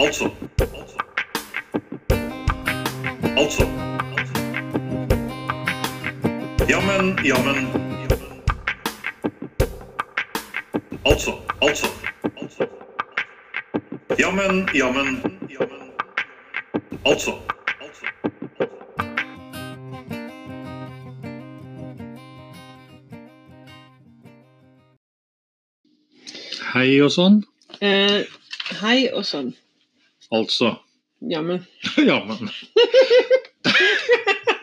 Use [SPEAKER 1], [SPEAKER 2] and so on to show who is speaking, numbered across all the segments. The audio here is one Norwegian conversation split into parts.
[SPEAKER 1] Altså. Altså. Jammen, jammen. Altså, altså. Jammen, jammen. Altså.
[SPEAKER 2] Hei og sånn.
[SPEAKER 3] Eh, hei og sånn.
[SPEAKER 2] Altså.
[SPEAKER 3] Jammen.
[SPEAKER 2] Ja, men.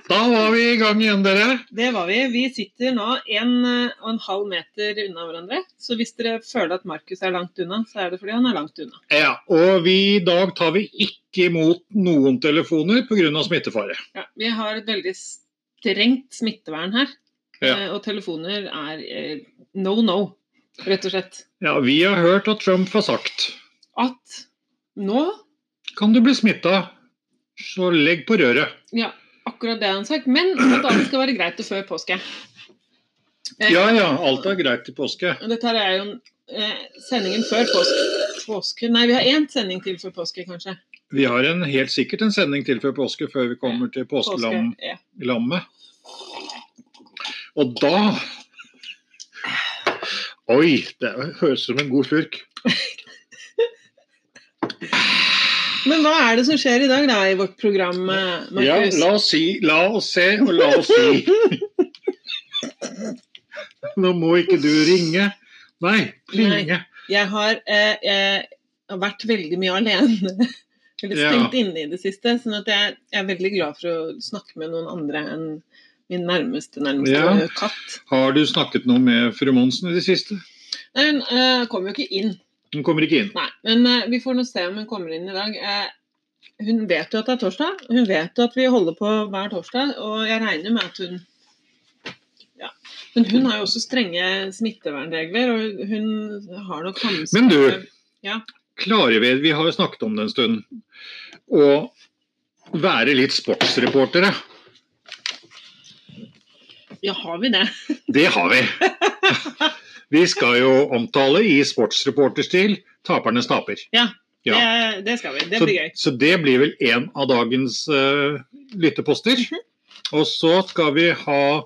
[SPEAKER 2] Da var vi i gang igjen, dere.
[SPEAKER 3] Det var vi. Vi sitter nå en eh, og en halv meter unna hverandre. Så hvis dere føler at Markus er langt unna, så er det fordi han er langt unna.
[SPEAKER 2] Ja, og vi, i dag tar vi ikke imot noen telefoner pga. smittefare.
[SPEAKER 3] Ja, vi har et veldig strengt smittevern her.
[SPEAKER 2] Ja.
[SPEAKER 3] Eh, og telefoner er eh, no no, rett og slett.
[SPEAKER 2] Ja, Vi har hørt at Trump har sagt
[SPEAKER 3] At nå
[SPEAKER 2] kan du bli smitta, så legg på røret.
[SPEAKER 3] Ja, akkurat det har han sagt. Men at alt skal være greit og før påske. Eh,
[SPEAKER 2] Ja ja, alt er greit i påske.
[SPEAKER 3] Og Dette her er jo eh, sendingen før påske. påske. Nei, vi har én sending til før påske, kanskje.
[SPEAKER 2] Vi har en, helt sikkert en sending til før påske, før vi kommer til påskelammet.
[SPEAKER 3] Ja.
[SPEAKER 2] Og da Oi, det høres ut som en god slurk.
[SPEAKER 3] Men hva er det som skjer i dag da, i vårt program, eh,
[SPEAKER 2] Ja,
[SPEAKER 3] Markus?
[SPEAKER 2] la oss si, la oss se og la oss si. Nå må ikke du ringe. Nei, plinge.
[SPEAKER 3] Jeg har eh, jeg har vært veldig mye alene. Eller
[SPEAKER 2] Ja.
[SPEAKER 3] stengt inne i det siste. sånn at jeg, jeg er veldig glad for å snakke med noen andre enn min nærmeste, nærmeste
[SPEAKER 2] Ja.
[SPEAKER 3] katt.
[SPEAKER 2] Har du snakket noe med fru Monsen i det siste?
[SPEAKER 3] Nei, hun eh, kommer jo ikke inn.
[SPEAKER 2] Hun kommer ikke inn.
[SPEAKER 3] Nei, men eh, vi får nå se om hun kommer inn i dag. Eh, hun vet jo at det er torsdag. Hun vet jo at vi holder på hver torsdag, og jeg regner med at hun ja. Men hun har jo også strenge smittevernregler, og hun har nok hansker
[SPEAKER 2] Men du-
[SPEAKER 3] Ja.
[SPEAKER 2] Klarer vi Vi har jo snakket om det en stund. Å være litt sportsreportere.
[SPEAKER 3] Ja, har vi det?
[SPEAKER 2] Det har vi. Vi skal jo omtale i sportsreporterstil 'Tapernes taper'.
[SPEAKER 3] Ja.
[SPEAKER 2] Ja.
[SPEAKER 3] Det, det skal vi. Det
[SPEAKER 2] så,
[SPEAKER 3] blir gøy.
[SPEAKER 2] så det blir vel en av dagens eh, lytteposter.
[SPEAKER 3] Mhm.
[SPEAKER 2] Og så skal vi ha,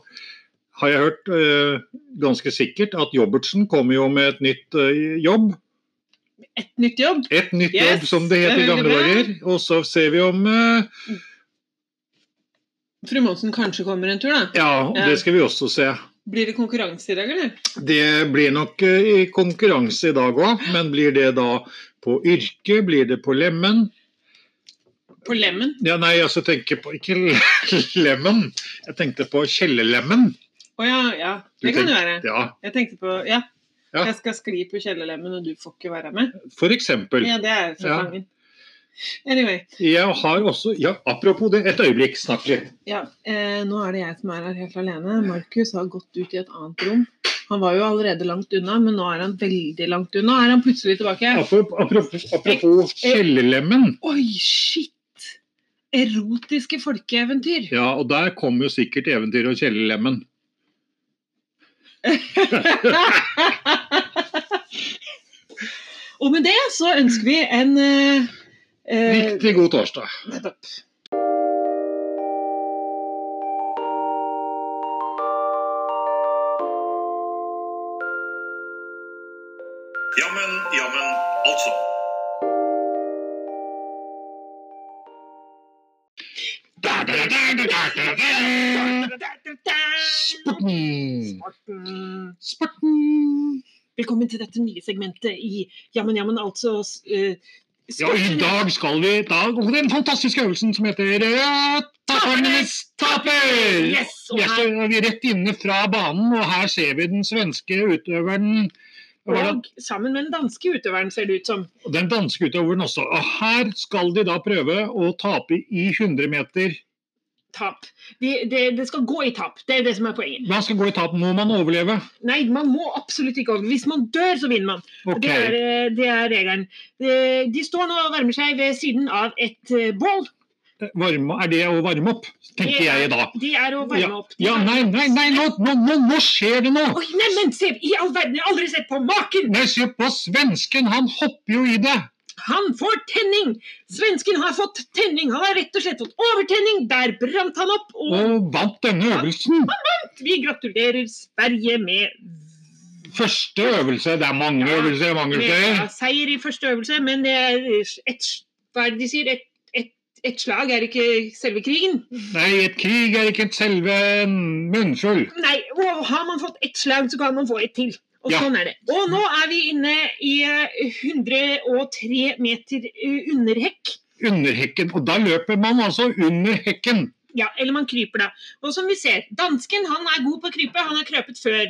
[SPEAKER 2] har jeg hørt eh, ganske sikkert, at Jobbertsen kommer jo med et nytt eh, jobb.
[SPEAKER 3] Et nytt jobb.
[SPEAKER 2] Et nytt
[SPEAKER 3] Yes,
[SPEAKER 2] jobb, som det
[SPEAKER 3] det er
[SPEAKER 2] het i gamle
[SPEAKER 3] veldig bra.
[SPEAKER 2] dager. Og så ser vi om eh,
[SPEAKER 3] Fru Monsen kanskje kommer en tur, da.
[SPEAKER 2] Ja,
[SPEAKER 3] Ja.
[SPEAKER 2] det skal vi også se.
[SPEAKER 3] Blir det konkurranse i dag, eller?
[SPEAKER 2] Det blir nok eh, i konkurranse i dag òg, men blir det da på yrke? Blir det på lemmen?
[SPEAKER 3] På Lemmen.
[SPEAKER 2] Ja, nei, altså tenker på Ikke lemmen, jeg tenkte på kjellerlemmen.
[SPEAKER 3] Å ja, ja.
[SPEAKER 2] Du
[SPEAKER 3] Det kan
[SPEAKER 2] tenk-
[SPEAKER 3] jo være.
[SPEAKER 2] Ja,
[SPEAKER 3] Jeg tenkte på Ja.
[SPEAKER 2] Ja.
[SPEAKER 3] Jeg skal skli på kjellerlemmen, og du får ikke være med.
[SPEAKER 2] For eksempel.
[SPEAKER 3] Ja, det er fra
[SPEAKER 2] Ja.
[SPEAKER 3] sangen. Anyway.
[SPEAKER 2] Jeg har også ja, Apropos det, et øyeblikk, snakk litt.
[SPEAKER 3] Ja, eh, nå er det jeg som er her helt alene. Markus har gått ut i et annet rom. Han var jo allerede langt unna, men nå er han veldig langt unna. Er han plutselig tilbake?
[SPEAKER 2] Apropos, apropos, apropos kjellerlemmen.
[SPEAKER 3] Oi, shit! Erotiske folkeeventyr.
[SPEAKER 2] Ja, og der kommer jo sikkert eventyr og kjellerlemmen.
[SPEAKER 3] Og med det så ønsker vi en eh, eh,
[SPEAKER 2] Riktig god torsdag.
[SPEAKER 3] Nettopp.
[SPEAKER 1] Jammen, jammen. Altså.
[SPEAKER 2] Sporten.
[SPEAKER 3] Mm.
[SPEAKER 2] Sporten.
[SPEAKER 3] Velkommen til dette nye segmentet i Jammen, jammen, altså eh,
[SPEAKER 2] Ja, i dag skal vi da gå til den fantastiske øvelsen som heter eh, Tapernes taper!
[SPEAKER 3] Yes! Og
[SPEAKER 2] Vi er
[SPEAKER 3] her
[SPEAKER 2] så- vi er rett inne fra banen, og her ser vi den svenske utøveren. Hva var det?
[SPEAKER 3] og sammen med den danske utøveren, ser det ut som.
[SPEAKER 2] Og Den danske utøveren også. Og her skal de da prøve å tape i 100 meter.
[SPEAKER 3] Tap. Det de, de skal gå i tap. Det er det som er poenget.
[SPEAKER 2] Man skal gå i tap, må man overleve?
[SPEAKER 3] Nei, man må absolutt ikke over. Hvis man dør, så vinner man.
[SPEAKER 2] Ok.
[SPEAKER 3] Det er, eh, det er regelen. Eh, De står nå og varmer seg ved siden av et eh, bål.
[SPEAKER 2] Varme, er det å varme opp, tenker jeg da.
[SPEAKER 3] De er å varme opp. De
[SPEAKER 2] Ja,
[SPEAKER 3] er-
[SPEAKER 2] nei, nei, nei, nå, nå, nå, nå skjer det noe!
[SPEAKER 3] Oi, nei, men se! I all verden, jeg har aldri sett på maken!
[SPEAKER 2] Nei, se på svensken, han hopper jo i det!
[SPEAKER 3] Han får tenning! Svensken har fått tenning! Han har rett og slett fått overtenning! Der brant han opp, og
[SPEAKER 2] Og vant denne øvelsen.
[SPEAKER 3] vi gratulerer Sverige med,
[SPEAKER 2] Første øvelse. Det er mange øvelser. mange
[SPEAKER 3] med ja,
[SPEAKER 2] øvelser.
[SPEAKER 3] seier i første øvelse, men det er et, hva er det de sier? Et, et, et slag er ikke selve krigen.
[SPEAKER 2] Nei, et krig er ikke et selve munnfull.
[SPEAKER 3] Nei, og har man fått ett slag, så kan man få ett til. Og
[SPEAKER 2] Ja.
[SPEAKER 3] sånn er det. Og nå er vi inne i eh, 103 meter eh, underhekk.
[SPEAKER 2] Under hekken. Og da løper man altså under hekken.
[SPEAKER 3] Ja, eller man kryper da. Og som vi ser, dansken han er god på å krype, han har krøpet før.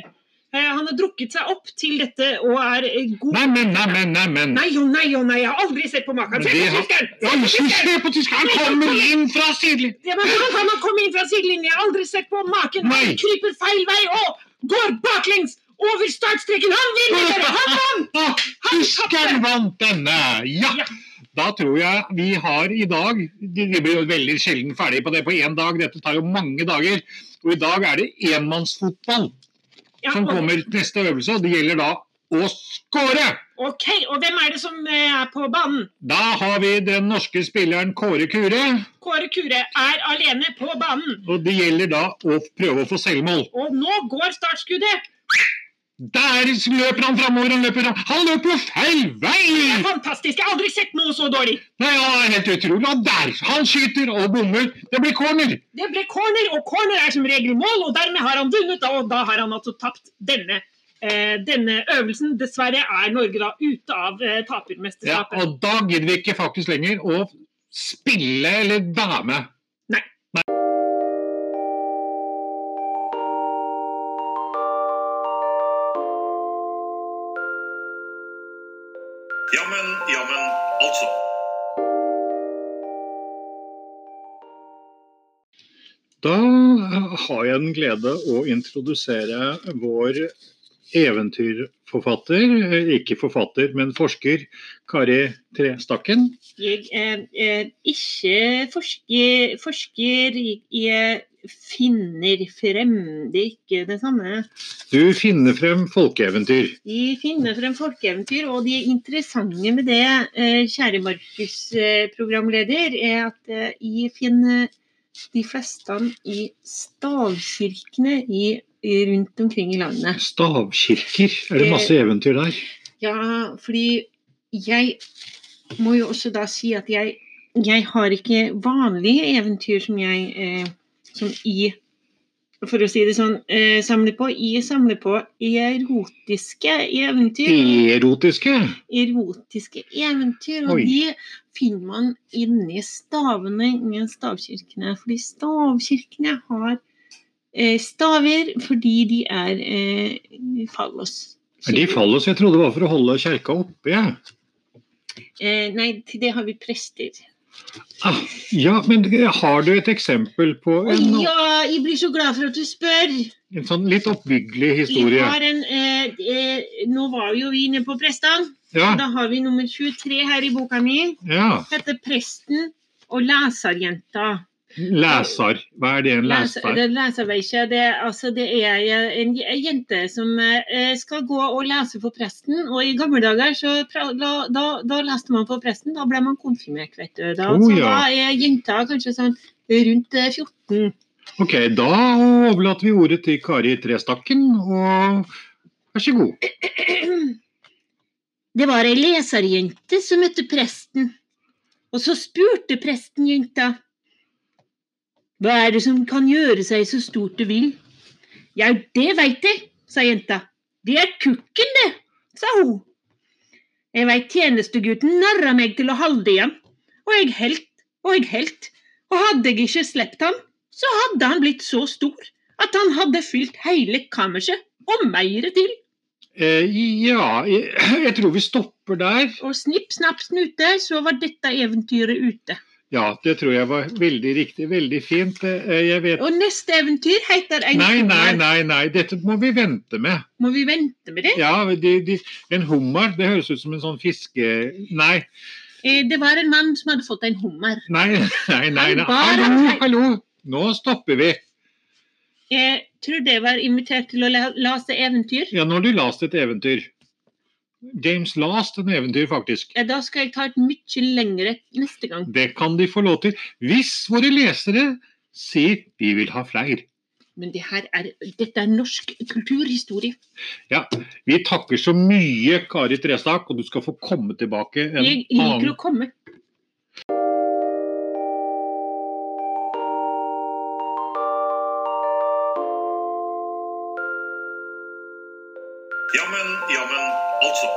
[SPEAKER 3] Eh, Han har drukket seg opp til dette og er eh, god
[SPEAKER 2] Neimen, neimen, neimen.
[SPEAKER 3] Nei og nei og nei, jeg har aldri sett på maken! Se
[SPEAKER 2] Men det
[SPEAKER 3] på
[SPEAKER 2] har-
[SPEAKER 3] tyskeren! Se på
[SPEAKER 2] Oi, se
[SPEAKER 3] tyskeren!
[SPEAKER 2] se på tyskeren! Han kommer inn fra sidelinjen!
[SPEAKER 3] Ja, men Hvordan kan man komme inn fra sidelinjen? Jeg har aldri sett på maken!
[SPEAKER 2] Nei.
[SPEAKER 3] Han kryper feil vei og går baklengs over startstreken! Han vinner! dere! Han
[SPEAKER 2] Ah, Tyskeren vant denne! Ja!
[SPEAKER 3] Ja.
[SPEAKER 2] Da tror jeg vi har i dag De de blir jo veldig sjelden ferdig på det på én dag, dette tar jo mange dager. Og i dag er det enmannsfotball
[SPEAKER 3] Ja,
[SPEAKER 2] som
[SPEAKER 3] og-
[SPEAKER 2] kommer til neste øvelse, og det gjelder da å score!
[SPEAKER 3] Ok, og hvem er det som eh, er på banen?
[SPEAKER 2] Da har vi den norske spilleren Kåre Kure,
[SPEAKER 3] Kåre Kure er alene på banen.
[SPEAKER 2] og det gjelder da å prøve å få selvmål.
[SPEAKER 3] Og nå går startskuddet.
[SPEAKER 2] Der løper han framover, han løper fram. Han løper jo feil
[SPEAKER 3] Det
[SPEAKER 2] vei!
[SPEAKER 3] er fantastisk. Jeg har aldri sett noe så dårlig.
[SPEAKER 2] Nei, ja, det er helt utrolig. Og der! Han skyter og bommer. Det blir corner!
[SPEAKER 3] Det ble corner, og corner er som regel mål, og dermed har han vunnet. da, Og da har han altså tapt denne, eh, denne øvelsen. Dessverre er Norge da ute av eh,
[SPEAKER 2] Ja,
[SPEAKER 3] tapermesterskapet.
[SPEAKER 2] og da gidder vi ikke faktisk lenger å spille eller være med.
[SPEAKER 3] Nei.
[SPEAKER 1] Jammen, jammen, altså.
[SPEAKER 2] Da har jeg den glede å introdusere vår eventyrforfatter, eh, ikke forfatter, men forsker, Kari Trestakken.
[SPEAKER 3] Jeg eh, eh, ikke forsker, forsker jeg finner frem. Det er ikke det samme.
[SPEAKER 2] Du finner frem folkeeventyr.
[SPEAKER 3] De finner frem folkeeventyr, og de interessante med det, eh, kjære Markus, eh, programleder, er at eh, jeg finner de fleste i stavkirkene i, i- rundt omkring i landet.
[SPEAKER 2] Stavkirker, er det masse eventyr der?
[SPEAKER 3] Ja, fordi jeg må jo også da si at jeg, jeg har ikke vanlige eventyr som jeg eh, som i for å si det sånn, eh, samler på. Jeg samler på erotiske eventyr
[SPEAKER 2] Mm. Erotiske?
[SPEAKER 3] erotiske eventyr. Og
[SPEAKER 2] Oi.
[SPEAKER 3] de finner man inni stavene i stavkirkene. Fordi stavkirkene har eh, staver fordi de er eh, fallos.
[SPEAKER 2] Er de fallos? Jeg trodde det var for å holde kjerka oppe. Ja.
[SPEAKER 3] Eh, nei, til det har vi prester.
[SPEAKER 2] Ah, ja, men har du et eksempel på
[SPEAKER 3] Å
[SPEAKER 2] en,
[SPEAKER 3] ja, jeg blir så glad for at du spør!
[SPEAKER 2] en sånn litt oppbyggelig
[SPEAKER 3] Vi
[SPEAKER 2] historie?
[SPEAKER 3] har en, eh, eh, nå var jo vi inne på prestene.
[SPEAKER 2] Ja,
[SPEAKER 3] Da har vi nummer 23 her i boka mi.
[SPEAKER 2] ja.
[SPEAKER 3] Heter 'Presten og leserjenta'.
[SPEAKER 2] Leser. Hva er det en
[SPEAKER 3] Leser,
[SPEAKER 2] leser?
[SPEAKER 3] det leser vi ikke. Det, er- altså, det er eh, en j- jente som eh, skal gå og lese for presten. Og i gamle dager så pra- da, da, da leste man for presten. Da ble man konfirmert, vet du. Da,
[SPEAKER 2] Oh,
[SPEAKER 3] så
[SPEAKER 2] ja.
[SPEAKER 3] da er jenta kanskje sånn rundt eh, 14.
[SPEAKER 2] Ok, da overlater vi ordet til Kari Trestakken, og vær så god.
[SPEAKER 3] Det var ei leserjente som møtte presten. Og så spurte presten jenta. Hva er det som kan gjøre seg så stort du vil? Ja, det veit jeg, sa jenta. Det er kukken, det, sa hun. Jeg veit tjenestegutten narra meg til å holde igjen, og jeg helt og jeg helt, og hadde jeg ikke sluppet ham, så hadde han blitt så stor at han hadde fylt hele kammerset, og meire til.
[SPEAKER 2] Eh, ja, jeg, jeg tror vi stopper der.
[SPEAKER 3] Og snipp, snapp, snute, så var dette eventyret ute.
[SPEAKER 2] Ja, det tror jeg var veldig riktig. Veldig fint. Eh, jeg vet
[SPEAKER 3] Og neste eventyr heter En
[SPEAKER 2] Nei, nei,
[SPEAKER 3] hummer.
[SPEAKER 2] nei, nei, dette må vi vente med.
[SPEAKER 3] Må vi vente med det?
[SPEAKER 2] Ja, de, de, En hummer, det høres ut som en sånn fiske... Nei,
[SPEAKER 3] Eh, Det var en mann som hadde fått en hummer.
[SPEAKER 2] nei, nei. nei, nei.
[SPEAKER 3] Bare-
[SPEAKER 2] Hallo, hallo! Nå stopper vi.
[SPEAKER 3] Jeg tror det var invitert til å la- lese eventyr.
[SPEAKER 2] Ja, når du leste et eventyr. James Last en eventyr, faktisk.
[SPEAKER 3] Ja, Da skal jeg ta et mye lengre neste gang.
[SPEAKER 2] Det kan de få lov til hvis våre lesere sier vi vil ha flere.
[SPEAKER 3] Men det her er, dette er norsk kulturhistorie.
[SPEAKER 2] Vi takker så mye, Kari Trestak, og du skal få komme tilbake en
[SPEAKER 3] Jeg liker
[SPEAKER 2] annen
[SPEAKER 3] å komme.
[SPEAKER 1] Jammen, jammen, altså.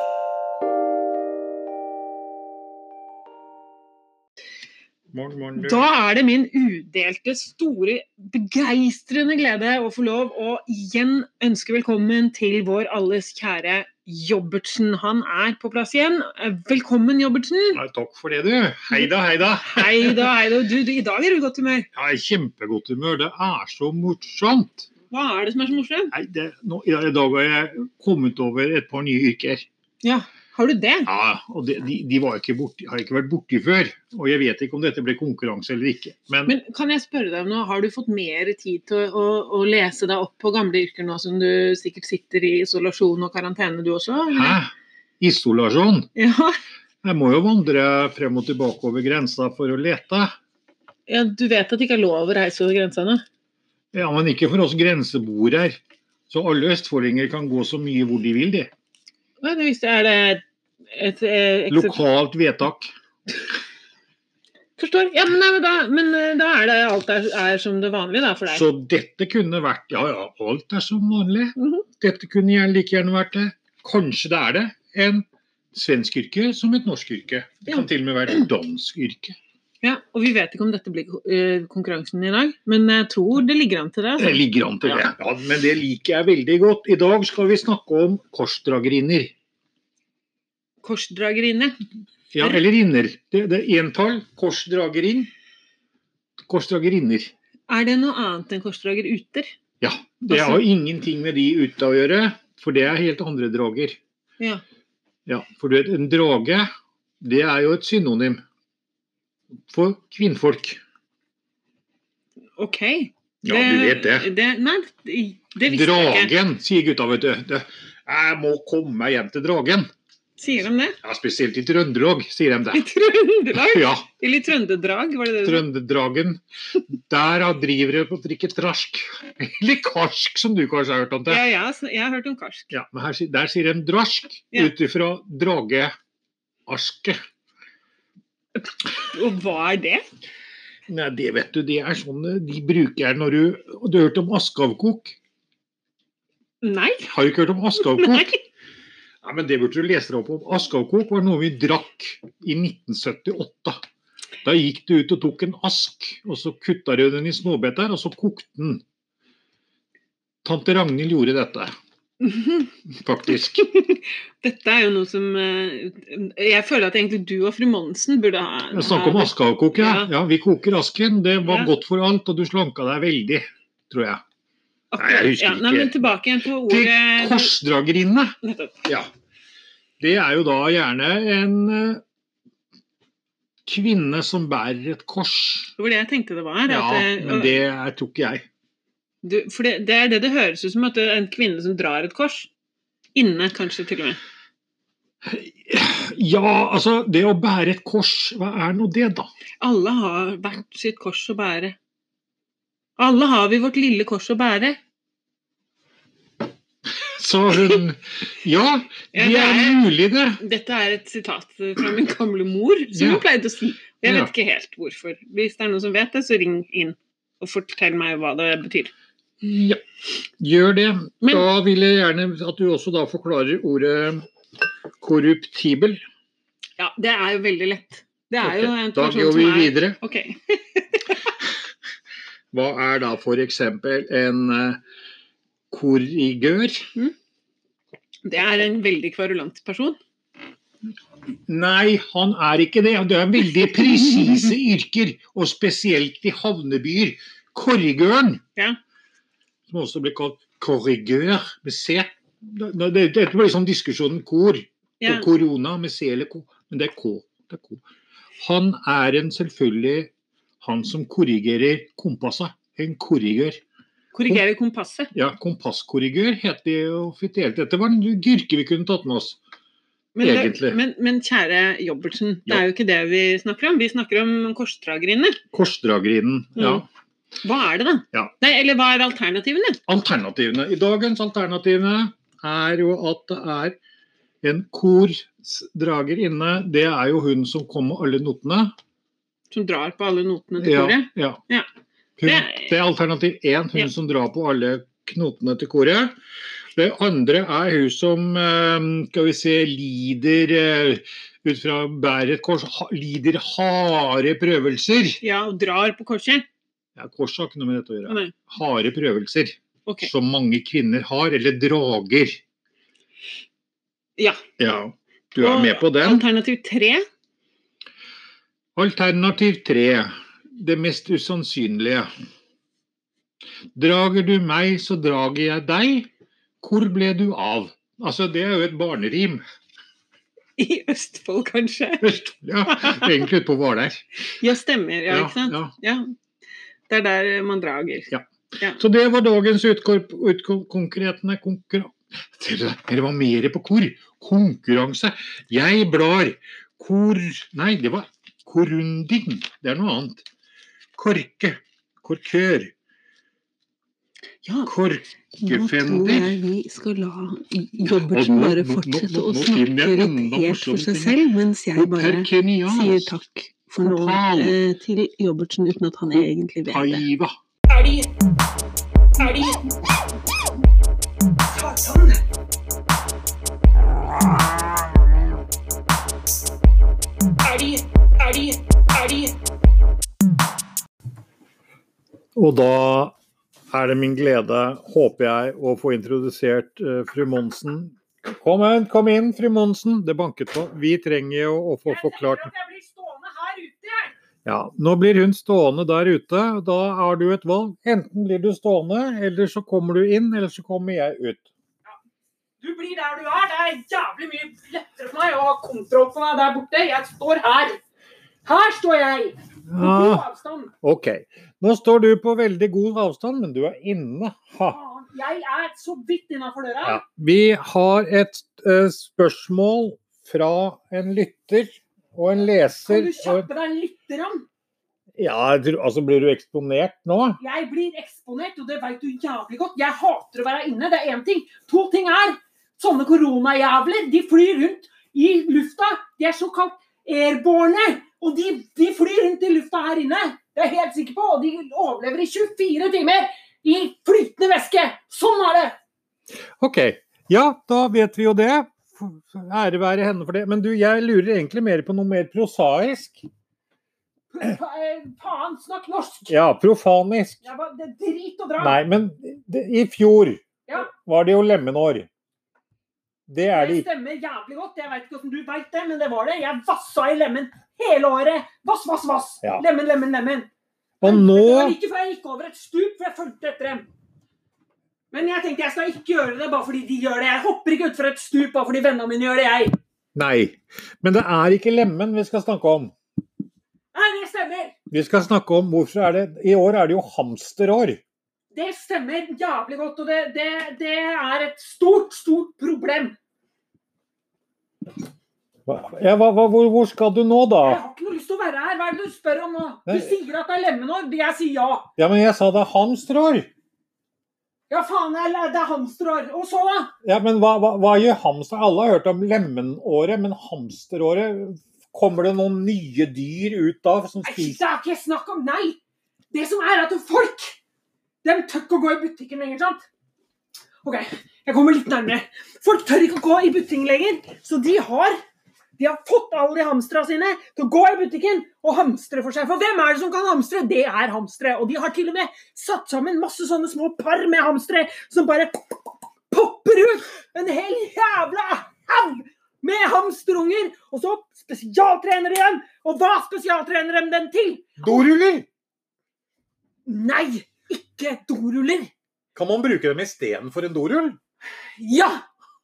[SPEAKER 2] morgen. morgen, du.
[SPEAKER 3] Da er det min udelte, store, begeistrende glede å få lov å igjen ønske velkommen til vår alles kjære Jobbertsen. Han er på plass igjen. Velkommen, Jobbertsen.
[SPEAKER 2] Nei, takk for det, du. Hei da, hei da.
[SPEAKER 3] Hei da, hei da. Du, du, I dag er du i godt humør.
[SPEAKER 2] Jeg er i kjempegodt humør. Det er så morsomt.
[SPEAKER 3] Hva er det som er så morsomt?
[SPEAKER 2] Nei, det, nå, I dag har jeg kommet over et par nye yrker.
[SPEAKER 3] Ja, har du det?
[SPEAKER 2] Ja, og det, De, de var ikke borti, har ikke vært borti før. Og jeg vet ikke om dette ble konkurranse eller ikke. Men,
[SPEAKER 3] Men kan jeg spørre deg om noe? Har du fått mer tid til å, å, å lese deg opp på gamle yrker nå som du sikkert sitter i isolasjon og karantene du også? eller?
[SPEAKER 2] hæ? Isolasjon?
[SPEAKER 3] Ja.
[SPEAKER 2] Jeg må jo vandre frem og tilbake over grensa for å lete.
[SPEAKER 3] ja, du vet at det ikke er lov å reise over grensa nå?
[SPEAKER 2] Ja, Men ikke for oss grenseboere. Så alle østfoldinger kan gå så mye hvor de vil, de.
[SPEAKER 3] Nei, det visste jeg. Er det et, eh, eksep-
[SPEAKER 2] Lokalt vedtak.
[SPEAKER 3] Forstår. Ja, men, nei, men, da, men eh, da er det alt er, er som det vanlige da, for deg.
[SPEAKER 2] Så dette kunne vært Ja ja, alt er som vanlig.
[SPEAKER 3] Mhm.
[SPEAKER 2] Dette kunne gjerne like gjerne vært det. Kanskje det er det. En svensk yrke som et norsk yrke. Det kan
[SPEAKER 3] Ja.
[SPEAKER 2] til og med være et dansk yrke.
[SPEAKER 3] Ja, og vi vet ikke om dette blir eh, konkurransen i dag, men jeg tror det ligger an til det.
[SPEAKER 2] Det
[SPEAKER 3] Altså.
[SPEAKER 2] ligger an til det. Ja, men det liker jeg veldig godt. I dag skal vi snakke om korsdragerinner.
[SPEAKER 3] Korsdragerinne.
[SPEAKER 2] Ja, eller inner. Det, det er entall. Korsdragerin. Korsdragerinner.
[SPEAKER 3] Er det noe annet enn korsdrager uter?
[SPEAKER 2] Ja. Det
[SPEAKER 3] Altså-
[SPEAKER 2] har ingenting med de ute å gjøre, for det er helt andre drager.
[SPEAKER 3] Ja.
[SPEAKER 2] Ja, for du vet, en drage, det er jo et synonym for kvinnfolk.
[SPEAKER 3] Ok.
[SPEAKER 2] Ja, du vet det.
[SPEAKER 3] nei, det, det visste jeg ikke.
[SPEAKER 2] Dragen, sier gutta, vet du. Det, jeg må komme meg hjem til dragen.
[SPEAKER 3] Sier de det?
[SPEAKER 2] Ja, spesielt i Trøndelag, sier de
[SPEAKER 3] I
[SPEAKER 2] det.
[SPEAKER 3] Trøndelag?
[SPEAKER 2] Ja,
[SPEAKER 3] Eller i Trøndedrag, var det det du sa?
[SPEAKER 2] Trøndedragen. Der har- driver det på å drikke trask. Eller karsk, som du kanskje har hørt om det.
[SPEAKER 3] Ja, ja, sn- jeg har hørt om karsk.
[SPEAKER 2] Ja, men her, sier- der sier de drask
[SPEAKER 3] Ja.
[SPEAKER 2] ut ifra drageaske.
[SPEAKER 3] Og hva er det?
[SPEAKER 2] Nei, det vet du, det er sånn eh, de bruker når du og Du har hørt om askeavkok?
[SPEAKER 3] Nei.
[SPEAKER 2] Har du ikke hørt om askeavkok?
[SPEAKER 3] Nei.
[SPEAKER 2] Nei. men det burde du lese deg opp om. Askeavkok var noe vi drakk i 1978. Da gikk du ut og tok en ask, og så kutta du den i småbiter, og så kokte den. Tante Ragnhild gjorde dette, faktisk.
[SPEAKER 3] Dette er jo noe som eh, Jeg føler at egentlig du og fru Monsen burde ha
[SPEAKER 2] Jeg snakker om altså.
[SPEAKER 3] ha-
[SPEAKER 2] askeavkok, ja.
[SPEAKER 3] Ja.
[SPEAKER 2] ja. Vi koker asken. Det var
[SPEAKER 3] Ja.
[SPEAKER 2] godt for alt, og du slanka deg veldig, tror jeg. Nei, jeg husker
[SPEAKER 3] ja, nei,
[SPEAKER 2] ikke.
[SPEAKER 3] Men tilbake igjen på
[SPEAKER 2] Til
[SPEAKER 3] ordet
[SPEAKER 2] korsdragerinne.
[SPEAKER 3] Nettopp.
[SPEAKER 2] Ja. Det er jo da gjerne en eh, kvinne som bærer et kors.
[SPEAKER 3] Det var det jeg tenkte det var.
[SPEAKER 2] Ja,
[SPEAKER 3] at det-
[SPEAKER 2] men det er- tror ikke jeg.
[SPEAKER 3] du, for det, det er det det høres ut som, at det er en kvinne som drar et kors. Inne, kanskje, til og med.
[SPEAKER 2] Ja, altså, det å bære et kors, hva er nå det, da?
[SPEAKER 3] Alle har hvert sitt kors å bære. Alle har vi vårt lille kors å bære.
[SPEAKER 2] Så hun Ja,
[SPEAKER 3] Ja,
[SPEAKER 2] det
[SPEAKER 3] det
[SPEAKER 2] er
[SPEAKER 3] er-
[SPEAKER 2] mulig, det.
[SPEAKER 3] Dette er et sitat fra min gamle mor, som
[SPEAKER 2] Ja.
[SPEAKER 3] hun pleide å si. Jeg
[SPEAKER 2] Ja.
[SPEAKER 3] vet ikke helt hvorfor. Hvis det er noen som vet det, så ring inn og fortell meg hva det betyr.
[SPEAKER 2] Ja, gjør det.
[SPEAKER 3] Men-
[SPEAKER 2] da vil jeg gjerne at du også da forklarer ordet korruptibel.
[SPEAKER 3] Ja, det er jo veldig lett. Det er jo
[SPEAKER 2] Ok,
[SPEAKER 3] en
[SPEAKER 2] da
[SPEAKER 3] person
[SPEAKER 2] går vi
[SPEAKER 3] som er
[SPEAKER 2] videre.
[SPEAKER 3] Ok.
[SPEAKER 2] Hva er da f.eks. en eh, korrigør?
[SPEAKER 3] Det er en veldig kvarulant person.
[SPEAKER 2] Nei, han er ikke det. Det er veldig presise yrker, og spesielt i havnebyer. Korrigøren,
[SPEAKER 3] Ja.
[SPEAKER 2] som også blir kalt korrigør med C. Det- det- Dette blir sånn diskusjonen kor
[SPEAKER 3] Ja.
[SPEAKER 2] og korona med C eller K. Men det er K. Det er K. Han er en selvfølgelig han som korrigerer kompasset. En korrigør.
[SPEAKER 3] Korrigere kompasset.
[SPEAKER 2] Ja, kompasskorrigør het det jo offisielt. Dette var en dyrke vi kunne tatt med oss.
[SPEAKER 3] Men, det,
[SPEAKER 2] Egentlig.
[SPEAKER 3] men, men kjære Jobbertsen, det
[SPEAKER 2] Ja.
[SPEAKER 3] er jo ikke det vi snakker om. Vi snakker om korsdrageriene.
[SPEAKER 2] Korsdragerinen. Ja.
[SPEAKER 3] Mm. Hva er det, da?
[SPEAKER 2] Ja.
[SPEAKER 3] Nei, eller hva er alternativene?
[SPEAKER 2] Alternativene. I dagens alternativene er jo at det er en korsdrager inne. Det er jo hun som kom med alle notene.
[SPEAKER 3] Som drar på alle notene til koret?
[SPEAKER 2] Ja.
[SPEAKER 3] Ja.
[SPEAKER 2] Hun, det,
[SPEAKER 3] Det-
[SPEAKER 2] er alternativ én, hun
[SPEAKER 3] Ja.
[SPEAKER 2] som drar på alle knotene til koret. Det andre er hun som eh, skal vi se, lider eh, ut fra bærer et kors, ha, lider harde prøvelser.
[SPEAKER 3] Ja, og drar på korset?
[SPEAKER 2] Ja, kors har ikke noe med dette å
[SPEAKER 3] Å,
[SPEAKER 2] gjøre.
[SPEAKER 3] Nei.
[SPEAKER 2] Harde prøvelser
[SPEAKER 3] Mm. Ok.
[SPEAKER 2] som mange kvinner har, eller drager.
[SPEAKER 3] Ja.
[SPEAKER 2] Ja, du er
[SPEAKER 3] Og
[SPEAKER 2] med på den.
[SPEAKER 3] Alternativ tre?
[SPEAKER 2] Alternativ tre. Det mest usannsynlige. Drager du meg, så drager jeg deg. Hvor ble du av? Altså, det er jo et barnerim.
[SPEAKER 3] I Østfold, kanskje?
[SPEAKER 2] Ja, egentlig ute på Hvaler.
[SPEAKER 3] Ja, stemmer. Ja, ikke sant?
[SPEAKER 2] ja.
[SPEAKER 3] Ja. Det er der man drager.
[SPEAKER 2] Så det var dagens utkonkurrentene konkurran... Dere var mer på kor. Konkurranse. Jeg blar. Kor... Nei, det var korunding. Det er noe annet. Korke. Korkør.
[SPEAKER 3] Ja, Nå tror
[SPEAKER 2] Korkefender.
[SPEAKER 4] jeg vi skal la
[SPEAKER 2] Og
[SPEAKER 4] Robertsen
[SPEAKER 2] nå-
[SPEAKER 4] bare
[SPEAKER 2] nå- nå-
[SPEAKER 4] fortsette
[SPEAKER 2] nå-
[SPEAKER 4] å
[SPEAKER 2] nå
[SPEAKER 4] snakke
[SPEAKER 2] finner jeg enda
[SPEAKER 4] irritert for
[SPEAKER 2] morsomme
[SPEAKER 4] seg
[SPEAKER 2] ting her.
[SPEAKER 4] selv, mens jeg bare
[SPEAKER 2] Hotel Kenyas.
[SPEAKER 4] sier takk for nå
[SPEAKER 2] Total.
[SPEAKER 4] eh, til Robertsen uten at han egentlig vet det.
[SPEAKER 2] Aiva.
[SPEAKER 5] Elg. Elg. Satan. Elg. Elg. Elg.
[SPEAKER 2] Og da er det min glede, håper jeg, å få introdusert eh, fru Monsen. Kom inn, kom inn, fru Monsen. Det banket på. Vi trenger jo å få forklart
[SPEAKER 5] Jeg blir stående her ute.
[SPEAKER 2] Ja, nå blir hun stående der ute. Da har du et valg. Enten blir du stående, eller så kommer du inn, eller så kommer jeg ut.
[SPEAKER 5] Du blir der du er. Det er jævlig mye lettere for meg å ha kontroll på deg der borte. Jeg står her. Her står jeg.
[SPEAKER 4] Mm-hmm.
[SPEAKER 5] På god
[SPEAKER 2] Ja,
[SPEAKER 5] avstand.
[SPEAKER 2] Ah, OK. Nå står du på veldig god avstand, men du er inne. Ha.
[SPEAKER 5] Faen, Jeg er så vidt innafor døra.
[SPEAKER 2] Ja. Vi har et eh, spørsmål fra en lytter og en
[SPEAKER 5] Kan
[SPEAKER 2] leser.
[SPEAKER 5] du
[SPEAKER 2] og-
[SPEAKER 5] kjappe deg lite grann?
[SPEAKER 2] Ja, jeg tror- altså blir du eksponert nå?
[SPEAKER 5] Jeg blir eksponert, og det veit du jævlig godt. Jeg hater å være inne, det er én ting. To ting er sånne koronajævler. De flyr rundt i lufta. De er såkalt airborne. Og de, de flyr rundt i lufta her inne. Det er jeg helt sikker på. Og de overlever i 24 timer i flytende væske. Sånn er det.
[SPEAKER 2] OK. Ja, da vet vi jo det. F- f- Ære være henne for det. Men du, jeg lurer egentlig mer på noe mer prosaisk.
[SPEAKER 5] Fa- eh, Faen, snakk norsk.
[SPEAKER 2] Ja, profanisk.
[SPEAKER 5] Jeg bare, det er drit og dra.
[SPEAKER 2] Nei, men det, i fjor
[SPEAKER 5] Ja.
[SPEAKER 2] var det jo lemenår. Det er det
[SPEAKER 5] Det
[SPEAKER 2] ikke.
[SPEAKER 5] stemmer jævlig godt. Jeg veit ikke hvordan du veit det, men det var det. Jeg vassa i lemmen hele året. Vass, vass, vass.
[SPEAKER 2] Ja.
[SPEAKER 5] Lemmen, lemmen, lemmen.
[SPEAKER 2] Og
[SPEAKER 5] Det var
[SPEAKER 2] nå
[SPEAKER 5] like før jeg gikk over et stup, for jeg fulgte etter dem. Men jeg tenkte jeg skal ikke gjøre det bare fordi de gjør det. Jeg hopper ikke utfor et stup bare fordi vennene mine gjør det, jeg.
[SPEAKER 2] Nei. Men det er ikke lemen vi skal snakke om.
[SPEAKER 5] Nei, det stemmer.
[SPEAKER 2] Vi skal snakke om hvorfor er det I år er det jo hamsterår.
[SPEAKER 5] Det stemmer jævlig godt, og det, det, det er et stort, stort problem.
[SPEAKER 2] Hva- Ja, hva, hva, hvor, hvor skal du nå,
[SPEAKER 5] Jeg
[SPEAKER 2] da?
[SPEAKER 5] har ikke noe lyst til å være her. Hva er det du spør om nå? Du
[SPEAKER 2] Nei.
[SPEAKER 5] sier at det er lemenår. Jeg sier ja.
[SPEAKER 2] Ja, men jeg sa det er hamsterår.
[SPEAKER 5] Ja, faen, jeg, det er hamsterår. Og så, da?
[SPEAKER 2] Ja, men hva, hva, hva gjør hamster? Alle har hørt om lemenåret, men hamsteråret Kommer det noen nye dyr ut da som
[SPEAKER 5] Nei,
[SPEAKER 2] spiser
[SPEAKER 5] det er ikke snakk om nei. Det som er, er at folk de tør ikke å gå i butikken lenger, sant? OK, jeg kommer litt nærmere. Folk tør ikke å gå i butikken lenger, så de har de har fått alle de hamstera sine til å gå i butikken og hamstre for seg. For hvem er det som kan hamstre? Det er hamstere. Og de har til og med satt sammen masse sånne små par med hamstere som bare popper ut en hel jævla haug med hamsterunger. Og så spesialtrener de dem. Og hva spesialtrener de dem til?
[SPEAKER 2] Doruller!
[SPEAKER 5] Nei, ikke doruller.
[SPEAKER 2] Kan man bruke dem istedenfor en dorull?
[SPEAKER 5] Ja,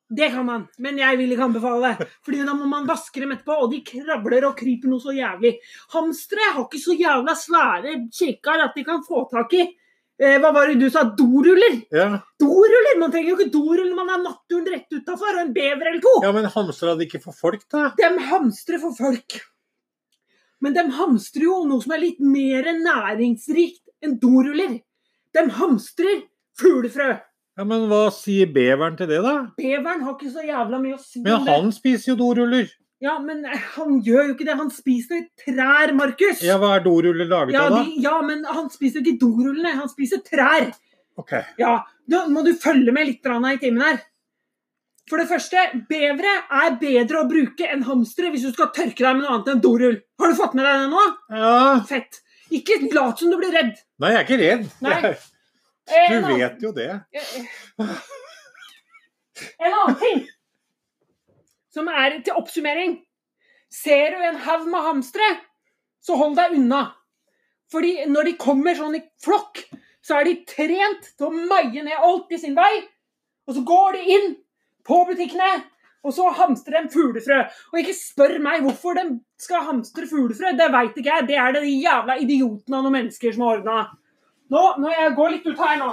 [SPEAKER 5] det kan man, men jeg vil ikke anbefale det. Fordi da må man vaske dem etterpå, og de kravler og kryper noe så jævlig. Hamstere har ikke så jævla svære kjekker at de kan få tak i eh, Hva var det du sa? Doruller?
[SPEAKER 2] Ja.
[SPEAKER 5] Doruller! Man trenger jo ikke dorull når man har naturen rett utafor og en bever eller to.
[SPEAKER 2] ja, men hamstra det ikke for folk, da?
[SPEAKER 5] De hamstrer for folk. Men de hamstrer jo noe som er litt mer næringsrikt enn doruller. De hamstrer fuglefrø.
[SPEAKER 2] Ja, Men hva sier beveren til det, da?
[SPEAKER 5] Beveren har ikke så jævla mye å si om
[SPEAKER 2] Men
[SPEAKER 5] det.
[SPEAKER 2] han spiser jo doruller.
[SPEAKER 5] Ja, men eh, han gjør jo ikke det. Han spiser trær, Markus.
[SPEAKER 2] Ja, hva er doruller laget
[SPEAKER 5] Ja,
[SPEAKER 2] av, da?
[SPEAKER 5] de, ja, men han spiser jo ikke dorullene. Han spiser trær.
[SPEAKER 2] Ok.
[SPEAKER 5] Ja, Nå må du følge med litt grann i timen her. For det første, bevere er bedre å bruke enn hamstere hvis du skal tørke deg med noe annet enn dorull. Har du fått med deg det nå?
[SPEAKER 2] Ja.
[SPEAKER 5] Fett. Ikke lat som du blir redd.
[SPEAKER 2] Nei, jeg er ikke redd.
[SPEAKER 5] Nei.
[SPEAKER 2] Jeg-
[SPEAKER 5] Eh, en
[SPEAKER 2] Du
[SPEAKER 5] annen-
[SPEAKER 2] vet jo det.
[SPEAKER 5] En annen ting som er til oppsummering. Ser du en haug med hamstere, så hold deg unna. Fordi når de kommer sånn i flokk, så er de trent til å maie ned alt i sin vei. Og så går de inn på butikkene, og så hamstrer de fuglefrø. Og ikke spør meg hvorfor de skal hamstre fuglefrø. Det veit ikke jeg. Det er det de jævla idiotene av noen mennesker som har ordna. Nå, nå, jeg går litt ut her nå.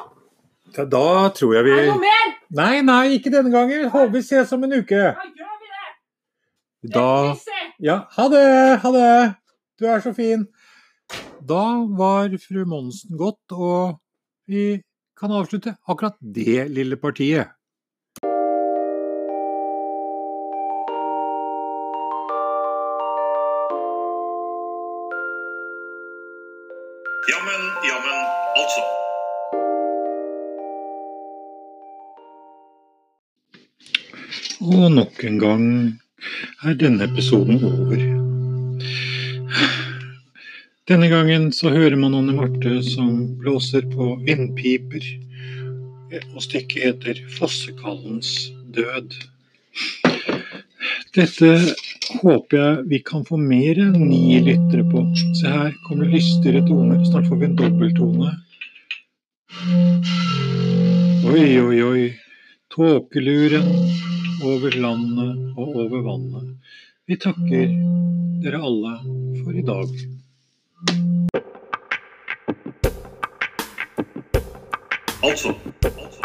[SPEAKER 2] Da- Da tror jeg
[SPEAKER 5] Er det noe
[SPEAKER 2] vi
[SPEAKER 5] mer?
[SPEAKER 2] Nei, nei, ikke denne gangen. Håper vi ses om en uke.
[SPEAKER 5] Ja, gjør vi det?
[SPEAKER 2] Da
[SPEAKER 5] Vi ses.
[SPEAKER 2] Ja, ha det! Ha det! Du er så fin! Da var fru Monsen godt, og vi kan avslutte akkurat det lille partiet.
[SPEAKER 1] Ja, men, ja, men, altså.
[SPEAKER 2] Og nok en gang er denne episoden over. Denne gangen så hører man Anne Marte som blåser på vindpiper, og stykket heter 'Fossekallens død'. Dette håper jeg vi kan få mer enn ni lyttere på. Se her kommer det lystigere toner. Snart får vi en dobbelttone. Oi, oi, oi. Tåkeluren over landet og over vannet. Vi takker dere alle for i dag.
[SPEAKER 1] Altså. Altså.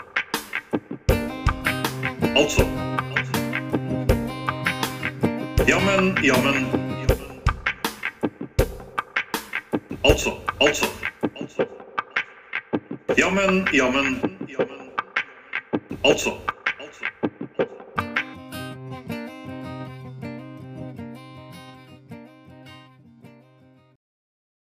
[SPEAKER 1] Altså. Ja, men, ja, men, ja, men. Altså, altså, altså. Ja, men, ja, men, ja, men. Altså.